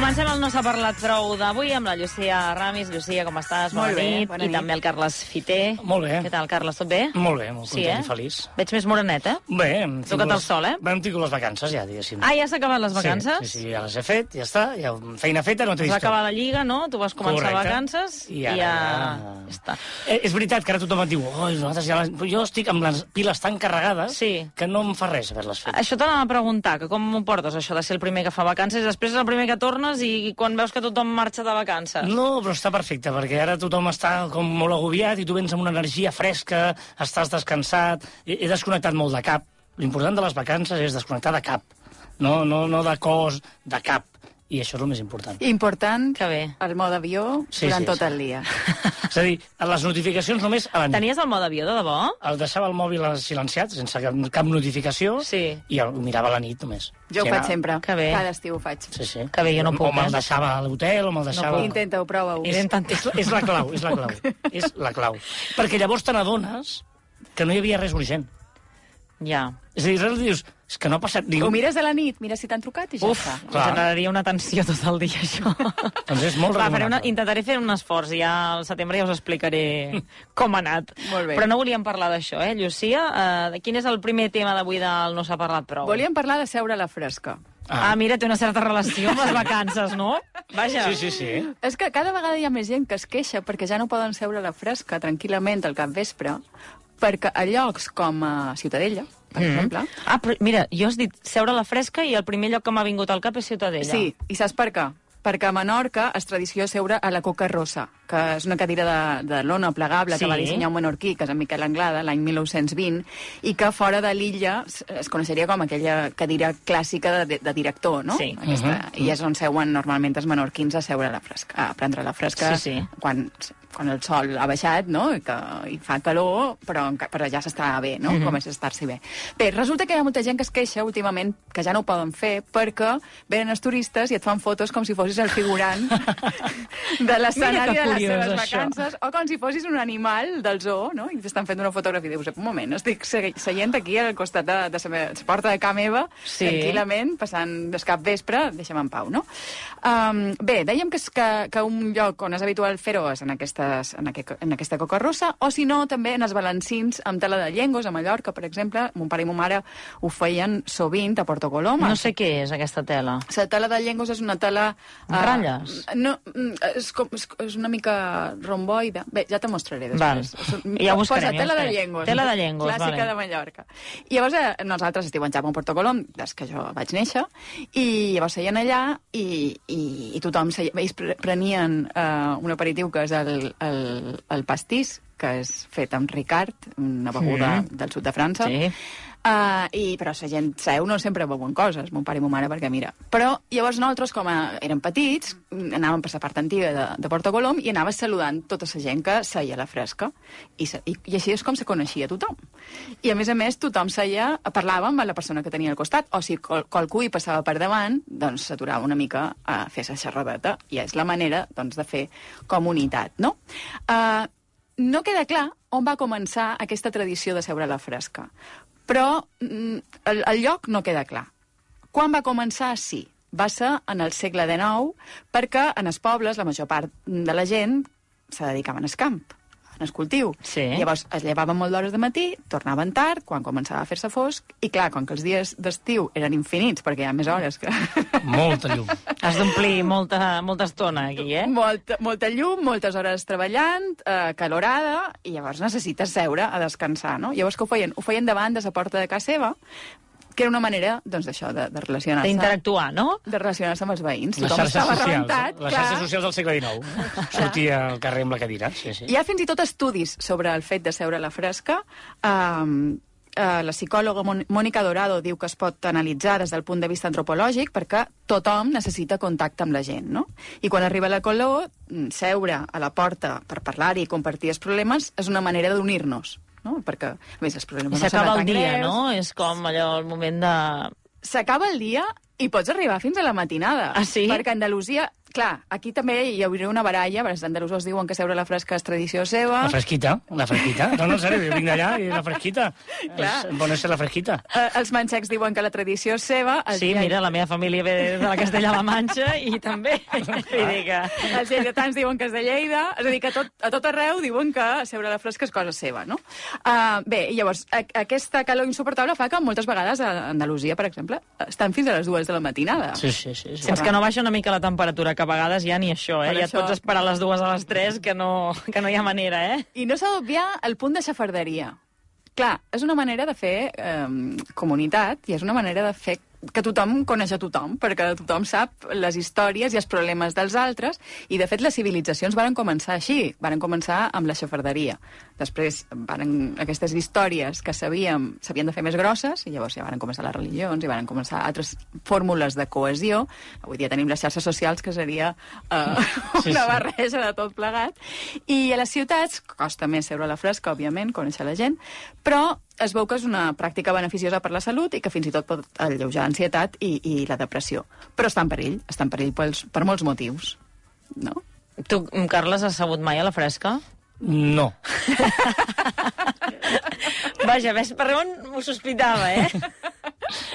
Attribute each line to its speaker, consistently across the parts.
Speaker 1: potser no s'ha parlat prou d'avui amb la Llucia Ramis. Llucia, com estàs? Bona
Speaker 2: Molt bé,
Speaker 1: nit.
Speaker 2: bona
Speaker 1: I
Speaker 2: nit.
Speaker 1: també el Carles Fiter.
Speaker 3: Molt bé.
Speaker 1: Què tal, Carles? Tot bé?
Speaker 3: Molt bé, molt
Speaker 1: Sí,
Speaker 3: content
Speaker 1: eh?
Speaker 3: i feliç.
Speaker 1: Veig més morenet, eh?
Speaker 3: Bé, hem tingut
Speaker 1: Tocat el
Speaker 3: les-
Speaker 1: sol, eh?
Speaker 3: Hem tingut les vacances, ja, diguéssim.
Speaker 1: Ah, ja s'ha acabat les vacances?
Speaker 3: Sí, sí, sí, ja les he fet, ja està. Ja, feina feta, no t'he
Speaker 1: Es va
Speaker 3: vist.
Speaker 1: acabar la Lliga, no? Tu vas començar
Speaker 3: Correcte.
Speaker 1: vacances
Speaker 3: I ara
Speaker 1: ja...
Speaker 3: ja-
Speaker 1: ja està.
Speaker 3: Eh, és veritat que ara tothom et diu oh, nosaltres ja les... jo estic amb les piles tan carregades
Speaker 1: Sí. Ah,
Speaker 3: que no em fa res haver-les fet.
Speaker 1: Això t'anava a preguntar, que com ho portes, això de ser el primer que fa vacances, després el primer que tornes i, i quan veus que tothom marxa de vacances?
Speaker 3: No, però està perfecte, perquè ara tothom està com molt agobiat i tu vens amb una energia fresca, estàs descansat, he, he desconnectat molt de cap. L'important de les vacances és desconnectar de cap, no, no, no de cos, de cap. I això és el més important.
Speaker 2: Important,
Speaker 1: Que bé.
Speaker 2: el mode avió
Speaker 3: Sí,
Speaker 2: durant
Speaker 3: sí,
Speaker 2: tot
Speaker 3: sí.
Speaker 2: el dia.
Speaker 3: És a dir, les notificacions només a la nit.
Speaker 1: Tenies el mode avió, de debò?
Speaker 3: El deixava el mòbil silenciat, sense cap, cap notificació,
Speaker 1: Sí.
Speaker 3: i el mirava a la nit només.
Speaker 2: Jo ho
Speaker 3: Sí,
Speaker 2: faig
Speaker 3: era-
Speaker 2: sempre.
Speaker 1: Que bé.
Speaker 2: Cada estiu ho faig.
Speaker 3: Sí, sí.
Speaker 1: Que bé, jo no puc,
Speaker 3: O me'l
Speaker 1: eh?
Speaker 3: deixava a l'hotel, o me'l deixava...
Speaker 1: puc.
Speaker 2: Intenta-ho, prova-ho.
Speaker 3: És, és, la- és la clau, és la clau. és la clau. Perquè llavors te n'adones que no hi havia res urgent.
Speaker 1: Ja.
Speaker 3: És a dir, realment dius, és que no ha passat ningú.
Speaker 2: Ho mires a la nit, mira si t'han trucat i ja
Speaker 1: Uf,
Speaker 2: està.
Speaker 3: clar.
Speaker 1: generaria una tensió tot el dia, això.
Speaker 3: Doncs és molt
Speaker 1: Va, faré una,
Speaker 3: recomanable.
Speaker 1: intentaré fer un esforç, ja al setembre ja us explicaré com ha anat.
Speaker 2: Molt bé.
Speaker 1: Però no volíem parlar d'això, eh, Llucia? Uh, quin és el primer tema d'avui del No s'ha parlat prou?
Speaker 2: Volíem parlar de seure a la fresca.
Speaker 1: Ah. ah, mira, té una certa relació amb les vacances, no? Vaja.
Speaker 3: Sí, sí, eh? sí.
Speaker 2: És que cada vegada hi ha més gent que es queixa perquè ja no poden seure a la fresca tranquil·lament al capvespre, perquè a llocs com a Ciutadella, per
Speaker 3: Mm.
Speaker 2: exemple...
Speaker 1: Ah, però mira, jo has dit seure a la fresca i el primer lloc que m'ha vingut al cap és Ciutadella.
Speaker 2: Sí, i saps per què? Perquè a Menorca és tradició seure a la coca rossa, que és una cadira de, de lona plegable
Speaker 1: Sí.
Speaker 2: que va dissenyar un menorquí, que és en Miquel Anglada, l'any 1920, i que fora de l'illa es- es coneixeria com aquella cadira clàssica de, de director, no?
Speaker 1: Sí. Mhm.
Speaker 2: Aquesta, I és on seuen normalment els menorquins a seure a la fresca, a prendre la fresca
Speaker 1: Sí, sí.
Speaker 2: Quan, quan el sol ha baixat, no?, i, que, i fa calor, però, enca- però ja s'està bé,
Speaker 1: Mhm.
Speaker 2: no?, comença a estar-s'hi bé. Bé, resulta que hi ha molta gent que es queixa últimament que ja no ho poden fer perquè venen els turistes i et fan fotos com si fossis el figurant de l'escenari
Speaker 1: Mira
Speaker 2: de
Speaker 1: que
Speaker 2: les
Speaker 1: curiós,
Speaker 2: seves
Speaker 1: això.
Speaker 2: vacances o com si fossis un animal del zoo, no?, i t'estan fent una fotografia i dius, un moment, estic se- seient aquí al costat de, de la meva- la porta de ca meva,
Speaker 1: Sí.
Speaker 2: tranquil·lament, tranquil·lament, passant d'escap vespre, deixa'm en pau, no? Um, bé, dèiem que, és que, que un lloc on és habitual fer-ho és en, aquestes, en, aquest, en aquesta coca rossa, o si no, també en els balancins amb tela de llengos, a Mallorca, per exemple, mon pare i ma mare ho feien sovint a Porto Coloma.
Speaker 1: No sé què és aquesta tela.
Speaker 2: La tela de llengos és una tela... eh,
Speaker 1: Ratlles?
Speaker 2: no, mm, és, com, és, és una mica romboide. Bé, ja te mostraré
Speaker 1: Val.
Speaker 2: després. És-
Speaker 1: Ja ho buscarem, ja
Speaker 2: Posa tela de
Speaker 1: buscarem.
Speaker 2: llengos.
Speaker 1: Tela de llengos,
Speaker 2: Clàssica
Speaker 1: vale.
Speaker 2: de Mallorca. I llavors eh, nosaltres estiu en Japó, Porto Colom, des que jo vaig néixer, i llavors seien allà i, i, i tothom seia, ells pre- prenien eh, un aperitiu que és el, el, el pastís, que és fet amb Ricard, una beguda mm. del sud de França.
Speaker 1: Sí.
Speaker 2: Uh, i, però la gent seu no sempre beuen coses, mon pare i ma mare, perquè mira. Però llavors nosaltres, com a, érem petits, mm, anàvem per la part antiga de, de Porto Colom i anaves saludant tota la gent que seia a la fresca. I, se- i, I així és com se coneixia tothom. I a més a més, tothom seia, parlàvem amb la persona que tenia al costat, o si qual, qualcú hi passava per davant, doncs s'aturava una mica a fer la xerradeta. I és la manera, doncs, de fer comunitat, no? Uh, no queda clar on va començar aquesta tradició de seure a la fresca, però mm, el, el lloc no queda clar. Quan va començar, sí. Va ser en el segle XIX, perquè en els pobles la major part de la gent se dedicaven al camp, en el cultiu.
Speaker 1: Sí.
Speaker 2: Llavors es llevaven molt d'hores de matí, tornaven tard, quan començava a fer-se fosc, i clar, com que els dies d'estiu eren infinits, perquè hi ha més hores que,
Speaker 3: Molta llum.
Speaker 1: Has d'omplir molta, molta estona aquí, eh?
Speaker 2: Molta, molta llum, moltes hores treballant, eh, calorada, i llavors necessites seure a descansar, no? Llavors què ho feien? Ho feien davant de la porta de casa seva, que era una manera, doncs, d'això, de, de relacionar-se
Speaker 1: D'interactuar, no?
Speaker 2: de relacionar-se amb els veïns.
Speaker 3: Les
Speaker 2: Tothom
Speaker 3: xarxes
Speaker 2: estava
Speaker 3: socials,
Speaker 2: rentat,
Speaker 3: les
Speaker 2: clar.
Speaker 3: xarxes socials del segle XIX. Sortia al carrer amb la cadira. Sí, sí.
Speaker 2: Hi ha fins i tot estudis sobre el fet de seure a la fresca. Um, Uh, la psicòloga Mon- Mònica Dorado diu que es pot analitzar des del punt de vista antropològic perquè tothom necessita contacte amb la gent, no? I quan arriba la calor, mm, seure a la porta per parlar i compartir els problemes és una manera d'unir-nos, no? Perquè, a més, els
Speaker 1: I
Speaker 2: problemes no
Speaker 1: s'acaba
Speaker 2: seran
Speaker 1: el
Speaker 2: tan
Speaker 1: dia,
Speaker 2: greus.
Speaker 1: no? És com allò, el moment de...
Speaker 2: S'acaba el dia i pots arribar fins a la matinada.
Speaker 1: Ah, sí?
Speaker 2: Perquè a Andalusia clar, aquí també hi hauria una baralla, perquè els andalusos diuen que seure a la fresca és tradició seva.
Speaker 3: La fresquita, la fresquita. No, no, en sèrio, jo vinc d'allà i la fresquita.
Speaker 2: Clar.
Speaker 3: És, bueno, és la fresquita.
Speaker 2: Eh, els manxecs diuen que la tradició és seva. Els
Speaker 1: Sí,
Speaker 2: lleidatans-
Speaker 1: mira, la meva família ve de la Castella-La Manxa i també. Vull dir que...
Speaker 2: Els lleidatans diuen que és de Lleida, és a dir, que a tot, a tot arreu diuen que seure a la fresca és cosa seva, no? Uh, bé, i llavors, a, aquesta calor insuportable fa que moltes vegades a Andalusia, per exemple, estan fins a les dues de la matinada.
Speaker 3: Sí, sí, sí. sí.
Speaker 1: Fins que no baixa una mica la temperatura, que a vegades ja ni això, eh?
Speaker 2: Per
Speaker 1: Ja
Speaker 2: això.
Speaker 1: tots esperar a les dues a les tres, que no, que no hi ha manera, eh?
Speaker 2: I no s'ha d'obviar el punt de xafarderia. Clar, és una manera de fer eh, comunitat i és una manera de fer que tothom coneix a tothom, perquè tothom sap les històries i els problemes dels altres, i de fet les civilitzacions varen començar així, varen començar amb la xafarderia. Després varen, aquestes històries que sabíem s'havien de fer més grosses, i llavors ja varen començar les religions, i varen començar altres fórmules de cohesió. Avui dia tenim les xarxes socials, que seria eh, una
Speaker 3: Sí, sí.
Speaker 2: barra barreja de tot plegat. I a les ciutats costa més seure a la fresca, òbviament, conèixer la gent, però es veu que és una pràctica beneficiosa per la salut i que fins i tot pot alleujar l'ansietat i, i la depressió. Però està en perill, està en perill pels, per molts motius, no?
Speaker 1: Tu, Carles, has sabut mai a la fresca?
Speaker 3: No.
Speaker 1: Vaja, ves per on m'ho sospitava, eh?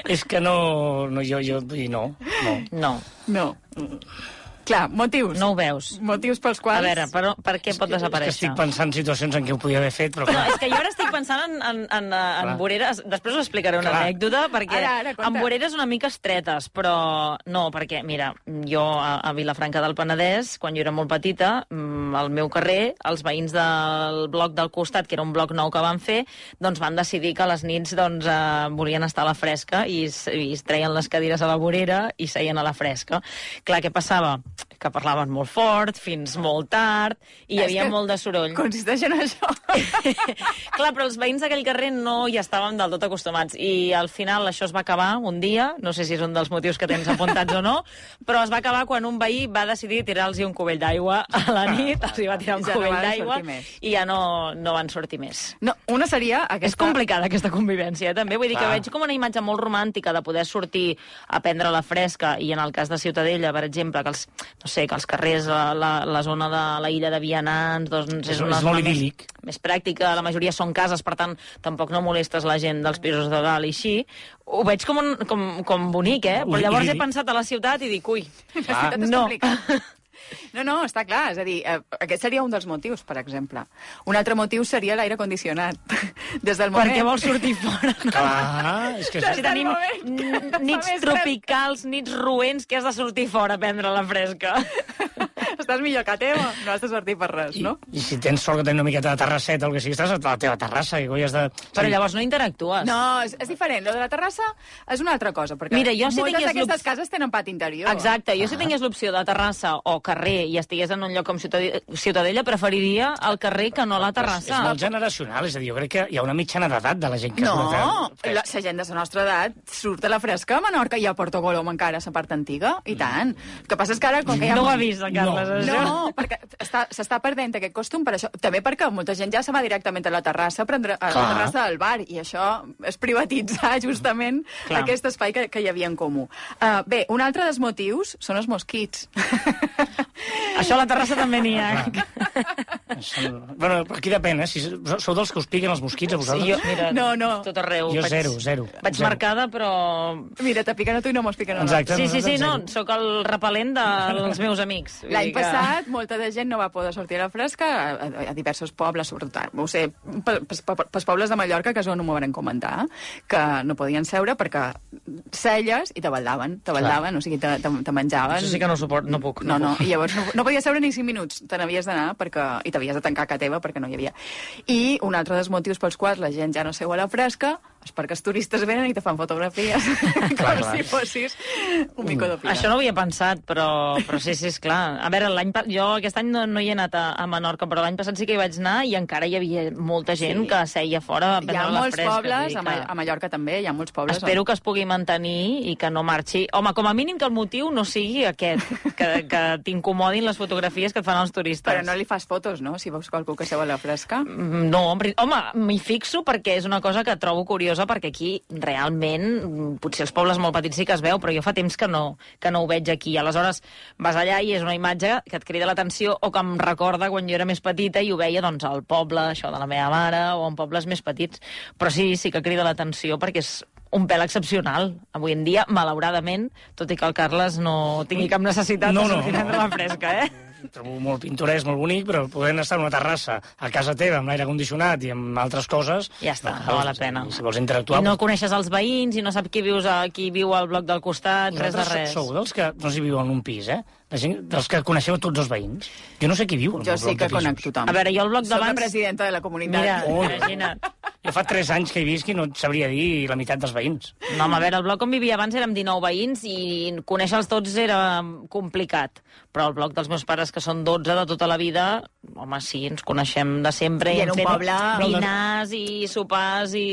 Speaker 3: És que no... no jo, jo, i no, no.
Speaker 1: No,
Speaker 2: No. Clar, motius.
Speaker 1: no ho veus.
Speaker 2: Motius pels
Speaker 1: A
Speaker 2: quals...
Speaker 1: veure, per, on- per què pot
Speaker 3: És que
Speaker 1: desaparèixer?
Speaker 3: estic pensant en situacions en què ho podia haver fet, però
Speaker 1: No,
Speaker 3: clar,
Speaker 1: és que jo ara estic pensant en, en, en, eh, en
Speaker 3: Clar.
Speaker 1: voreres... Després us explicaré una
Speaker 3: Clar.
Speaker 1: anècdota, perquè
Speaker 2: Ara, ara, conta.
Speaker 1: en voreres una mica estretes, però no, perquè, mira, jo a, a Vilafranca del Penedès, quan jo era molt petita, mm, al meu carrer, els veïns del bloc del costat, que era un bloc nou que van fer, doncs van decidir que a les nits doncs, eh, volien estar a la fresca i, s- i es treien les cadires a la vorera i seien a la fresca. Clar, què passava? Que parlaven molt fort, fins molt tard, i hi
Speaker 2: És
Speaker 1: havia
Speaker 2: que
Speaker 1: molt de soroll.
Speaker 2: Consisteix en això.
Speaker 1: Clar, però els veïns d'aquell carrer no hi estàvem del tot acostumats i al final això es va acabar un dia, no sé si és un dels motius que tens apuntats o no, però es va acabar quan un veí va decidir tirar-los un cubell d'aigua a la nit, els hi va tirar un
Speaker 2: Ja no
Speaker 1: cubell
Speaker 2: van
Speaker 1: d'aigua
Speaker 2: sortir més.
Speaker 1: i ja no, no van sortir més.
Speaker 2: No, una seria aquesta...
Speaker 1: És complicada aquesta convivència, eh, també. Vull dir que
Speaker 3: Clar.
Speaker 1: veig com una imatge molt romàntica de poder sortir a prendre la fresca i en el cas de Ciutadella, per exemple, que els, no sé, que els carrers, la, la, la zona de la illa de Vianants, doncs és
Speaker 3: és,
Speaker 1: una
Speaker 3: és
Speaker 1: zona
Speaker 3: molt
Speaker 1: més,
Speaker 3: idíl·lic.
Speaker 1: més pràctica, la majoria són cases, per tant, tampoc no molestes la gent dels pisos de dalt i així. Ho veig com, un, com, com bonic, eh? Però
Speaker 3: Ui,
Speaker 1: llavors
Speaker 3: i-
Speaker 1: he pensat a la ciutat i dic, ui,
Speaker 2: La ciutat és
Speaker 1: no.
Speaker 2: complicada. No, no, està clar. És a dir, eh, aquest seria un dels motius, per exemple. Un altre motiu seria l'aire condicionat. Des
Speaker 1: Per
Speaker 2: del moment...
Speaker 1: què vols sortir fora? No?
Speaker 3: Clar, és
Speaker 1: Si
Speaker 3: que...
Speaker 2: Clar.
Speaker 3: És...
Speaker 2: Està
Speaker 1: tenim
Speaker 2: molt bé.
Speaker 1: n-
Speaker 2: Fa
Speaker 1: nits
Speaker 2: més
Speaker 1: tropicals, nits roents, que has de sortir fora a prendre la fresca.
Speaker 2: Estàs millor que a teva. No has de sortir per res, no?
Speaker 3: I si tens sort que tens una miqueta de terrasseta o el que sigui, estàs a la teva terrassa, que coi has de...
Speaker 1: Però llavors no interactues.
Speaker 2: No, és, és diferent. Lo de la terrassa és una altra cosa, perquè
Speaker 1: Mira, jo si
Speaker 2: moltes
Speaker 1: tingués
Speaker 2: d'aquestes
Speaker 1: l'op-
Speaker 2: cases tenen pati interior.
Speaker 1: Exacte, jo
Speaker 2: Ah.
Speaker 1: si tingués l'opció de terrassa o carrer i estigués en un lloc com Ciutadella, Ciutadella preferiria el carrer que no la
Speaker 3: És, és
Speaker 1: terrassa.
Speaker 3: molt generacional, és a dir, jo crec que hi ha una mitjana d'edat de la gent que surt
Speaker 2: No,
Speaker 3: a-
Speaker 2: la, la gent de la nostra edat surt a la fresca a Menorca i a Porto Colom encara, a la part antiga, i tant. El que passa és que ara, com que hi ha...
Speaker 1: No ho
Speaker 2: molt-
Speaker 1: ha vist, el Carles,
Speaker 3: No.
Speaker 1: això.
Speaker 2: No, perquè està- s'està perdent aquest costum per això. També perquè molta gent ja se va directament a la terrassa, a, prendre, a la
Speaker 3: Clar.
Speaker 2: terrassa del bar, i això és privatitzar justament
Speaker 3: Clar.
Speaker 2: aquest espai que, que hi havia en comú. Uh, bé, un altre dels motius són els mosquits.
Speaker 1: Això a la terrassa també n'hi ha.
Speaker 3: Són- Bueno, aquí depèn, eh? Si so- sou dels que us piquen els mosquits
Speaker 1: Sí,
Speaker 3: a vosaltres?
Speaker 1: jo, mira,
Speaker 2: No, no.
Speaker 1: tot arreu.
Speaker 3: Jo zero, zero.
Speaker 1: Vaig
Speaker 3: Zero.
Speaker 1: marcada, però...
Speaker 2: Mira, te piquen a tu i no mos piquen a nosaltres.
Speaker 3: Exacte.
Speaker 1: Sí, sí, sí,
Speaker 3: nosaltres
Speaker 1: no,
Speaker 3: zero.
Speaker 1: sóc el repel·lent dels meus amics. Vull
Speaker 2: L'any
Speaker 1: dir que-
Speaker 2: passat molta de gent no va poder sortir a la fresca a, a- a diversos pobles, sobretot, no ho sé, pe- pes- pe- pels pobles de Mallorca, que això no m'ho van comentar, que no podien seure perquè celles i te baldaven, te baldaven, o sigui, te, te, te menjaven.
Speaker 1: Això sí que no ho suport, no puc.
Speaker 2: No, no,
Speaker 1: puc.
Speaker 2: i llavors no, no podies seure ni 5 minuts, te n'havies d'anar perquè... i t'havies de tancar a casa teva perquè no hi havia. I un altre dels motius pels quals la gent ja no seu a la fresca és perquè els turistes venen i te fan fotografies com
Speaker 3: Clar, clar.
Speaker 2: si fossis un mico de pira.
Speaker 1: Mm. Això no ho havia pensat, però, però sí, sí, és clar. A veure, l'any pa- jo aquest any no, no hi he anat a, a Menorca, però l'any passat sí que hi vaig anar i encara hi havia molta gent
Speaker 2: Sí.
Speaker 1: que seia fora a
Speaker 2: Hi ha
Speaker 1: prendre la
Speaker 2: molts
Speaker 1: fresca. vull
Speaker 2: pobles,
Speaker 1: dir
Speaker 2: a, Ma a Mallorca també, hi ha molts pobles. doncs.
Speaker 1: Espero que es pugui mantenir i que no marxi. Home, com a mínim que el motiu no sigui aquest, que, que t'incomodin les fotografies que et fan els turistes.
Speaker 2: Però no li fas fotos, no?, si veus qualcú que seu a la fresca.
Speaker 1: Mm, No, en pri- home, m'hi fixo perquè és una cosa que trobo curiosa perquè aquí realment, mm, potser els pobles molt petits sí que es veu, però jo fa temps que no, que no ho veig aquí. Aleshores vas allà i és una imatge que et crida l'atenció o que em recorda quan jo era més petita i ho veia doncs, al poble, això de la meva mare, o en pobles més petits. Però sí, sí que crida l'atenció perquè és un pèl excepcional. Avui en dia, malauradament, tot i que el Carles no tingui cap necessitat
Speaker 3: No,
Speaker 1: de
Speaker 3: no,
Speaker 1: sortir
Speaker 3: no.
Speaker 1: de la fresca, eh?
Speaker 3: trobo molt pintoresc, molt bonic, però podent estar en una terrassa a casa teva amb l'aire condicionat i amb altres coses...
Speaker 1: Ja està,
Speaker 3: doncs,
Speaker 1: no val la pena.
Speaker 3: i Si vols interactuar...
Speaker 1: I no coneixes els veïns i no sap qui, vius a, qui viu al bloc del costat, res de
Speaker 3: vosaltres
Speaker 1: res.
Speaker 3: sou dels que no s'hi viu en un pis, eh? La gent, dels que coneixeu tots els veïns. Jo no sé qui viu en
Speaker 2: Jo
Speaker 3: un
Speaker 2: sí
Speaker 3: bloc
Speaker 2: que
Speaker 3: de pisos.
Speaker 2: conec tothom.
Speaker 1: A veure, jo el bloc
Speaker 2: Soc la
Speaker 1: d'abans-
Speaker 2: presidenta de la comunitat.
Speaker 1: Mira,
Speaker 3: Oh.
Speaker 1: imagina't.
Speaker 3: Jo fa 3 anys que hi visc i no et sabria dir la meitat dels veïns.
Speaker 1: No, home, a veure, el bloc on vivia abans érem 19 veïns i conèixer-los tots era complicat. Però el bloc dels meus pares, que són 12 de tota la vida, home, sí, ens coneixem de sempre.
Speaker 2: I
Speaker 1: hem
Speaker 2: era un
Speaker 1: fet
Speaker 2: poble-
Speaker 1: Dinars i sopars i...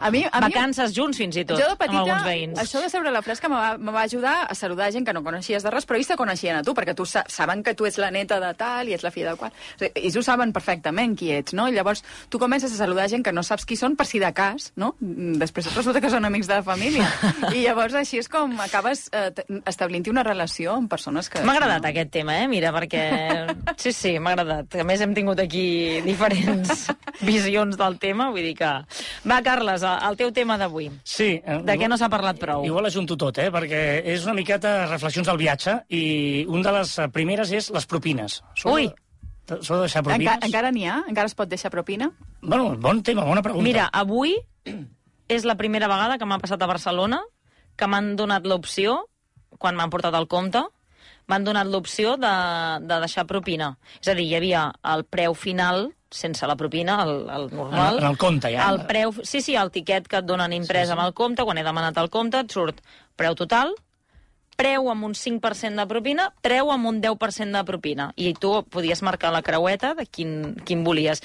Speaker 2: A mi, a mi,
Speaker 1: Vacances junts, fins i tot,
Speaker 2: jo de petita,
Speaker 1: amb alguns veïns.
Speaker 2: això de seure a la fresca me va, me va ajudar a saludar gent que no coneixies de res, però ells te coneixien a tu, perquè tu sa saben que tu ets la neta de tal i ets la filla de qual. O sigui, ells ho saben perfectament qui ets, no? I llavors tu comences a saludar gent que no saps qui són per si de cas, no? Mm, Després resulta que són amics de la família. I llavors així és com acabes eh, t- establint-hi una relació amb persones que...
Speaker 1: M'ha agradat aquest tema, eh? Mira, perquè... Sí, sí, m'ha agradat. A més, hem tingut aquí diferents visions del tema, vull dir que... Va, Carles, el el teu tema d'avui.
Speaker 3: Sí. eh,
Speaker 1: De què no s'ha parlat prou?
Speaker 3: Igual ajunto tot, eh? perquè és una miqueta reflexions del viatge i una de les eh, primeres és les propines. S'ho
Speaker 1: Ui!
Speaker 3: de- S'ho de deixar propines?
Speaker 2: Enca encara n'hi ha? Encara es pot deixar propina?
Speaker 3: Bueno, bon tema, bona pregunta.
Speaker 1: Mira, avui és la primera vegada que m'ha passat a Barcelona que m'han donat l'opció, quan m'han portat el compte, m'han donat l'opció de, de deixar propina. És a dir, hi havia el preu final, sense la propina, el, el normal.
Speaker 3: En- en el compte, ja.
Speaker 1: El preu, sí, sí, el tiquet que et donen imprès sí, sí. amb el compte, quan he demanat el compte et surt preu total, preu amb un 5% de propina, preu amb un 10% de propina. I tu podies marcar la creueta de quin, quin volies.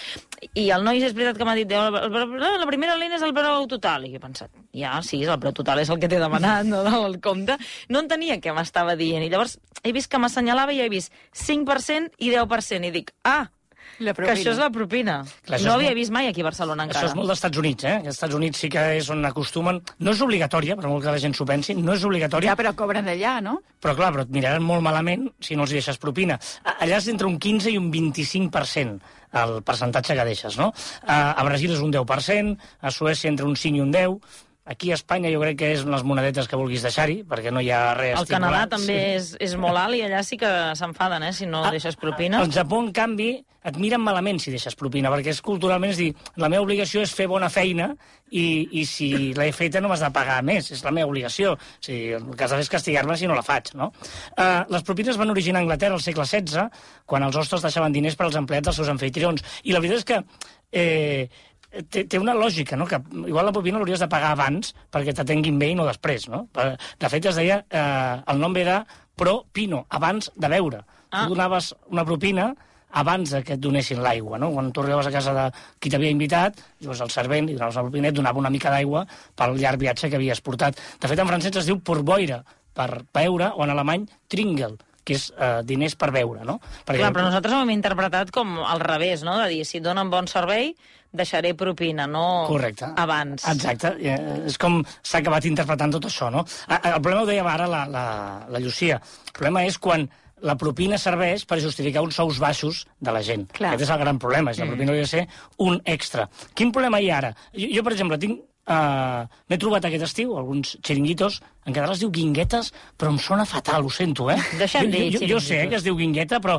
Speaker 1: I el noi és veritat que m'ha dit "Eh, "El- el- el- la primera línia és el preu total. I jo he pensat, ja, sí, el preu total és el que t'he demanat, no del compte. No entenia què m'estava dient. I llavors he vist que m'assenyalava i he vist 5% i 10%. I dic, ah,
Speaker 2: La
Speaker 1: que això és la propina.
Speaker 3: Clar, això
Speaker 1: no
Speaker 3: és
Speaker 1: havia
Speaker 3: molt-
Speaker 1: vist mai aquí a Barcelona encara.
Speaker 3: Això és molt dels Estats Units, eh? Els Estats Units sí que és on acostumen... No és obligatòria, per molt que la gent s'ho pensi, no és obligatòria,
Speaker 2: Ja, però cobren allà, no?
Speaker 3: però clar, però et miraran molt malament si no els hi deixes propina.
Speaker 1: Ah.
Speaker 3: A- Allà és entre un 15 i un 25% el percentatge que deixes, no? A a Brasil és un 10%, a Suècia entre un 5 i un 10%, aquí a Espanya jo crec que és les monedetes que vulguis deixar-hi, perquè no hi ha res...
Speaker 1: El Canadà
Speaker 3: estimulat.
Speaker 1: també és, és molt alt i allà sí que s'enfaden, eh, si no
Speaker 3: Ah,
Speaker 1: deixes propina.
Speaker 3: Al Japó, en canvi, et miren malament si deixes propina, perquè és culturalment és dir, la meva obligació és fer bona feina i, i si l'he feta no m'has de pagar més, és la meva obligació. O sigui, el que has de fer és castigar-me si no la faig, no? Uh, les propines van originar a Anglaterra al segle XVI, quan els hostes deixaven diners per als empleats dels seus anfitrions. I la veritat és que... Eh, té, té una lògica, no? que igual la propina l'hauries de pagar abans perquè t'atenguin bé i no després. No? Per- De fet, es deia, eh, el nom ve de pro pino, abans de beure. Ah.
Speaker 1: Ah.
Speaker 3: Tu donaves una propina abans de que et donessin l'aigua, no? Quan tu arribaves a casa de qui t'havia invitat, dius al servent, li donaves una propina i et donava una mica d'aigua pel llarg viatge que havies portat. De fet, en francès es diu porboira, per beure, o en alemany tringel, que és eh, diners per beure, no? Perquè
Speaker 1: Clar, però nosaltres ho hem interpretat com al revés, no? De dir, si et donen bon servei, deixaré propina, no
Speaker 3: Correcte.
Speaker 1: abans.
Speaker 3: Exacte. Eh, És com s'ha acabat interpretant tot això, no? A- a- El problema, ho deia ara la, la, la Llucia, el problema és quan la propina serveix per justificar uns sous baixos de la gent.
Speaker 2: Clar.
Speaker 3: Aquest és el gran
Speaker 1: Mm.
Speaker 3: problema, és la propina hauria de ser un extra. Quin problema hi ha ara? Jo, jo per exemple, tinc... Uh, M'he trobat aquest estiu alguns xiringuitos, en català es diu guinguetes, però em sona fatal, ho sento, eh?
Speaker 1: Deixa'm
Speaker 3: jo,
Speaker 1: dir
Speaker 3: jo, jo sé eh,
Speaker 1: xiringuitos.
Speaker 3: que es diu guingueta, però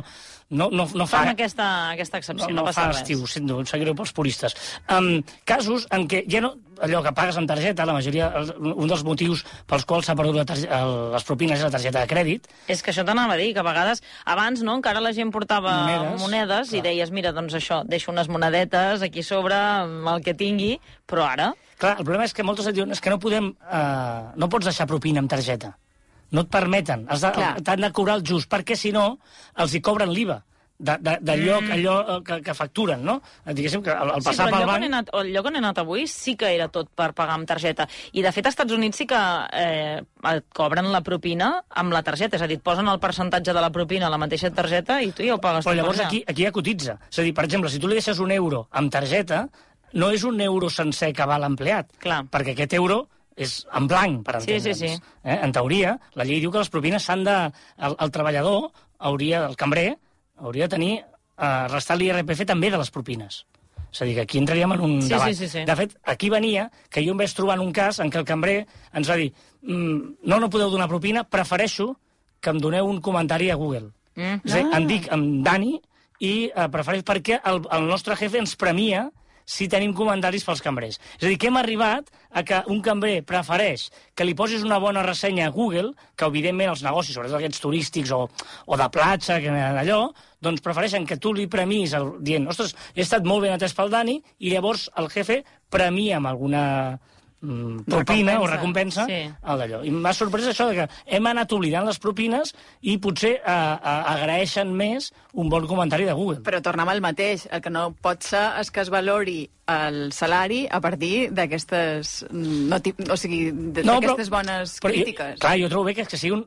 Speaker 3: no, no, no fa...
Speaker 1: Fan aquesta, aquesta excepció, no,
Speaker 3: no, no
Speaker 1: passa
Speaker 3: fa
Speaker 1: res.
Speaker 3: estiu, sento, em sap greu pels puristes. Um, casos en què ja no, allò que pagues amb targeta, la majoria, el- un dels motius pels quals s'ha perdut la targe- el- les propines és la targeta de crèdit,
Speaker 1: És que això t'anava a dir, que a vegades, abans, no?, encara la gent portava
Speaker 3: Monedes,
Speaker 1: monedes, monedes i
Speaker 3: clar.
Speaker 1: deies, mira, doncs això, deixo unes monedetes aquí sobre, amb el que tingui, però ara...
Speaker 3: Clar, el problema és que moltes et diuen és que no podem... Eh, no pots deixar propina amb targeta. No et permeten. Has de-
Speaker 2: Clar.
Speaker 3: T'han de cobrar el just, perquè si no els hi cobren l'IVA de, de, de lloc, allò eh, que, que facturen, no? Diguéssim que al, al
Speaker 1: Mm. Sí,
Speaker 3: passar
Speaker 1: però el
Speaker 3: pel
Speaker 1: lloc, on
Speaker 3: banc...
Speaker 1: he anat, el lloc on he anat avui sí que era tot per pagar amb targeta. I, de fet, als Estats Units sí que eh, et cobren la propina amb la targeta. És a dir, et posen el percentatge de la propina a la mateixa targeta i tu ja ho pagues.
Speaker 3: Però
Speaker 1: tot
Speaker 3: llavors
Speaker 1: per allà.
Speaker 3: aquí, aquí ja cotitza. És a dir, per exemple, si tu li deixes un euro amb targeta, no és un euro sencer que va l'empleat,
Speaker 1: Clar.
Speaker 3: perquè aquest euro és en blanc, per
Speaker 1: Sí,
Speaker 3: entendre'ns.
Speaker 1: sí, sí.
Speaker 3: Eh? En teoria, la llei diu que les propines s'han de... El, el treballador, hauria, el cambrer, hauria de tenir eh, restat l'IRPF també de les propines. És a dir, que aquí entraríem en un
Speaker 1: Sí,
Speaker 3: debat.
Speaker 1: sí, sí, sí.
Speaker 3: De fet, aquí venia que jo em vaig trobar en un cas en què el cambrer ens va dir mm, no, no podeu donar propina, prefereixo que em doneu un comentari a Google.
Speaker 1: Mm.
Speaker 3: És a dir, em dic amb Dani i eh, prefereix perquè el, el nostre jefe ens premia si tenim comentaris pels cambrers. És a dir, que hem arribat a que un cambrer prefereix que li posis una bona ressenya a Google, que evidentment els negocis, sobretot aquests turístics o, o de platja, que allò, doncs prefereixen que tu li premis el, dient, ostres, he estat molt ben atès pel Dani, i llavors el jefe premia amb alguna mm, propina o
Speaker 1: Recompensa.
Speaker 3: recompensa
Speaker 1: Sí.
Speaker 3: el d'allò. I m'ha sorprès això de que hem anat oblidant les propines i potser eh, eh, agraeixen més un bon comentari de Google.
Speaker 2: Però tornem al mateix. El que no pot ser és que es valori el salari a partir d'aquestes mm, no, tip- o sigui, d-
Speaker 3: No, però-
Speaker 2: d'aquestes bones
Speaker 3: Però jo-
Speaker 2: crítiques.
Speaker 3: clar, jo trobo bé que, que sigui un,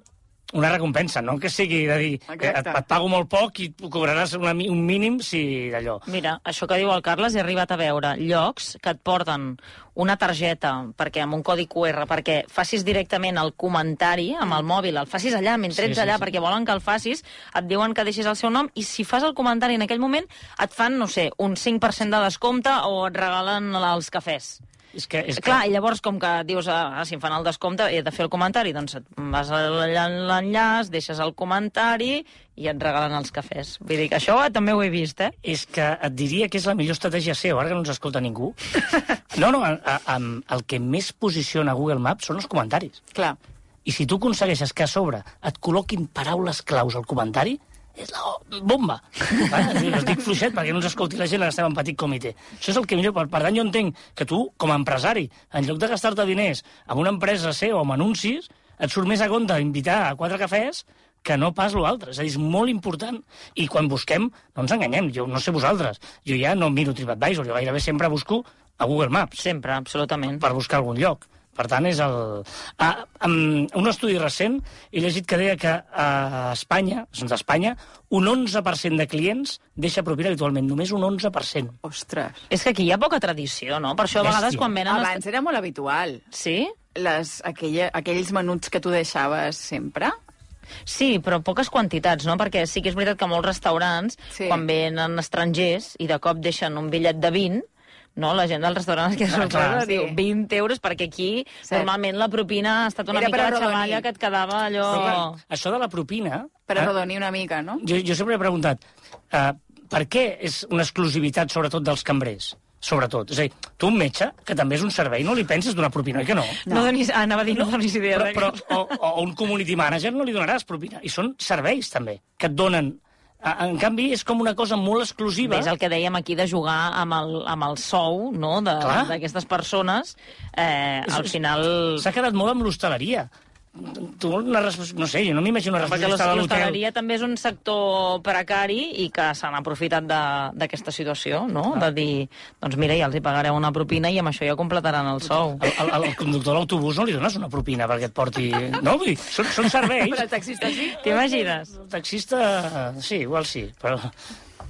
Speaker 3: una recompensa, no que sigui de dir
Speaker 2: Exacte.
Speaker 3: eh, et, et pago molt poc i tu cobraràs una, mi- un mínim si d'allò.
Speaker 1: Mira, això que diu el Carles, he arribat a veure llocs que et porten una targeta perquè amb un codi QR, perquè facis directament el comentari amb el mòbil, el facis allà mentre
Speaker 3: Sí,
Speaker 1: ets
Speaker 3: sí,
Speaker 1: allà,
Speaker 3: sí.
Speaker 1: perquè volen que el facis, et diuen que deixis el seu nom, i si fas el comentari en aquell moment et fan, no sé, un 5% de descompte o et regalen els cafès.
Speaker 3: És que, és
Speaker 1: Clar,
Speaker 3: que...
Speaker 1: i llavors, com que dius, ah, ah, si em fan el descompte, he de fer el comentari, doncs et vas a l'en- l'enllaç, deixes el comentari i et regalen els cafès. Vull dir que això també ho he vist, eh?
Speaker 3: és que et diria que és la millor estratègia SEO, ara que no ens escolta ningú. No, no, a, a, a, el que més posiciona Google Maps són els comentaris.
Speaker 2: Clar.
Speaker 3: I si tu aconsegueixes que a sobre et col·loquin paraules claus al comentari, és la bomba. Vale? Jo estic fluixet perquè no ens escolti la gent que estem en petit comitè. Això és el que millor. Per, per tant, jo entenc que tu, com a empresari, en lloc de gastar-te diners en una empresa seu o en anuncis, et surt més a compte invitar a quatre cafès que no pas l'altre. És a dir, és molt important. I quan busquem, no ens enganyem. Jo no sé vosaltres. Jo ja no miro TripAdvisor. Jo gairebé sempre busco a Google Maps
Speaker 1: Sempre, absolutament.
Speaker 3: per buscar algun lloc. Per tant, és el... Ah, um, un estudi recent he llegit que deia que a Espanya, són d'Espanya, un 11% de clients deixa propina habitualment, només un 11%.
Speaker 2: Ostres.
Speaker 1: És que aquí hi ha poca tradició, no? Per això a vegades
Speaker 3: Bèstia.
Speaker 1: quan venen... els-
Speaker 2: Abans era molt habitual.
Speaker 1: Sí?
Speaker 2: Les, aquella, aquells menuts que tu deixaves sempre.
Speaker 1: Sí, però poques quantitats, no? Perquè sí que és veritat que molts restaurants, sí.
Speaker 2: Sí.
Speaker 1: quan venen estrangers i de cop deixen un bitllet de 20, no? la gent del restaurant es queda
Speaker 3: Ah, clar.
Speaker 1: sorpresa, ah, diu
Speaker 2: Sí.
Speaker 1: 20 euros, perquè aquí
Speaker 2: Cert.
Speaker 1: normalment la propina ha estat una
Speaker 2: Era
Speaker 1: mica
Speaker 2: per
Speaker 1: la
Speaker 2: arrodonir.
Speaker 1: xavalla que et quedava allò...
Speaker 3: Però,
Speaker 1: Oh.
Speaker 3: clar, Això de la propina...
Speaker 2: Per
Speaker 3: eh,
Speaker 2: arrodonir una mica, no?
Speaker 3: Jo, jo sempre he preguntat, eh, per què és una exclusivitat, sobretot, dels cambrers? Sobretot. És a dir, tu un metge, que també és un servei, no li penses donar propina, oi que no?
Speaker 1: No. no donis... Ah, anava a dir, no donis idea.
Speaker 3: Però,
Speaker 1: de-
Speaker 3: però o, o un community manager no li donaràs propina. I són serveis, també, que et donen. A- En canvi, és com una cosa molt exclusiva.
Speaker 1: És el que dèiem aquí de jugar amb el, amb el sou no? de-
Speaker 3: Clar.
Speaker 1: d'aquestes persones. Eh,
Speaker 3: És-
Speaker 1: al final...
Speaker 3: S'ha quedat molt amb l'hostaleria. Tu, una resp... No sé, jo no m'imagino una
Speaker 1: Perquè
Speaker 3: responsabilitat de l'hotel.
Speaker 1: l'hostaleria també és un sector precari i que s'han aprofitat de- d'aquesta situació, no? De dir, doncs mira, ja els hi pagareu una propina i amb això ja completaran el sou.
Speaker 3: El, el, el conductor de l'autobús no li dones una propina perquè et porti... No, vull dir, són, són serveis.
Speaker 2: Però el taxista sí.
Speaker 1: T'imagines?
Speaker 3: El taxista, sí, igual sí, però...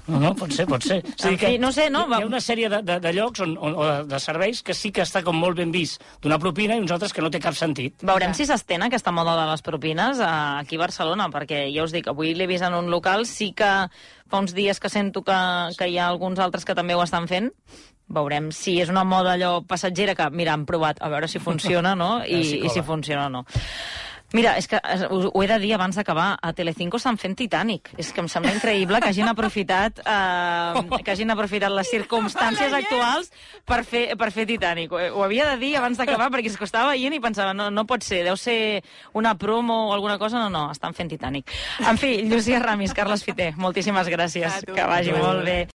Speaker 3: No, no, pot ser, pot ser. És a dir
Speaker 1: En fi, no sé, no,
Speaker 3: Hi ha
Speaker 1: va-
Speaker 3: una sèrie de, de, de llocs on, on, o de, de serveis que sí que està com molt ben vist donar propina i uns altres que no té cap sentit.
Speaker 1: Veurem si s'estén aquesta moda de les propines eh, aquí a Barcelona, perquè ja us dic, avui l'he vist en un local, sí que fa uns dies que sento que, que hi ha alguns altres que també ho estan fent. Veurem si és una moda allò passatgera que, mira, han provat, a veure si funciona, no?
Speaker 3: veure si
Speaker 1: I, i si
Speaker 3: cola.
Speaker 1: funciona o no. Mira, és que eh, us ho he de dir abans d'acabar, a Telecinco estan fent Titanic. És que em sembla increïble que hagin aprofitat, eh, que hagin aprofitat les circumstàncies actuals per fer, per fer Titanic. Ho, ho havia de dir abans d'acabar perquè és que ho estava veient i pensava, no, no pot ser, deu ser una promo o alguna cosa. No, no, estan fent Titanic. En fi, Llucia Ramis, Carles Fiter, moltíssimes gràcies.
Speaker 2: A tu.
Speaker 1: Que vagi molt bé.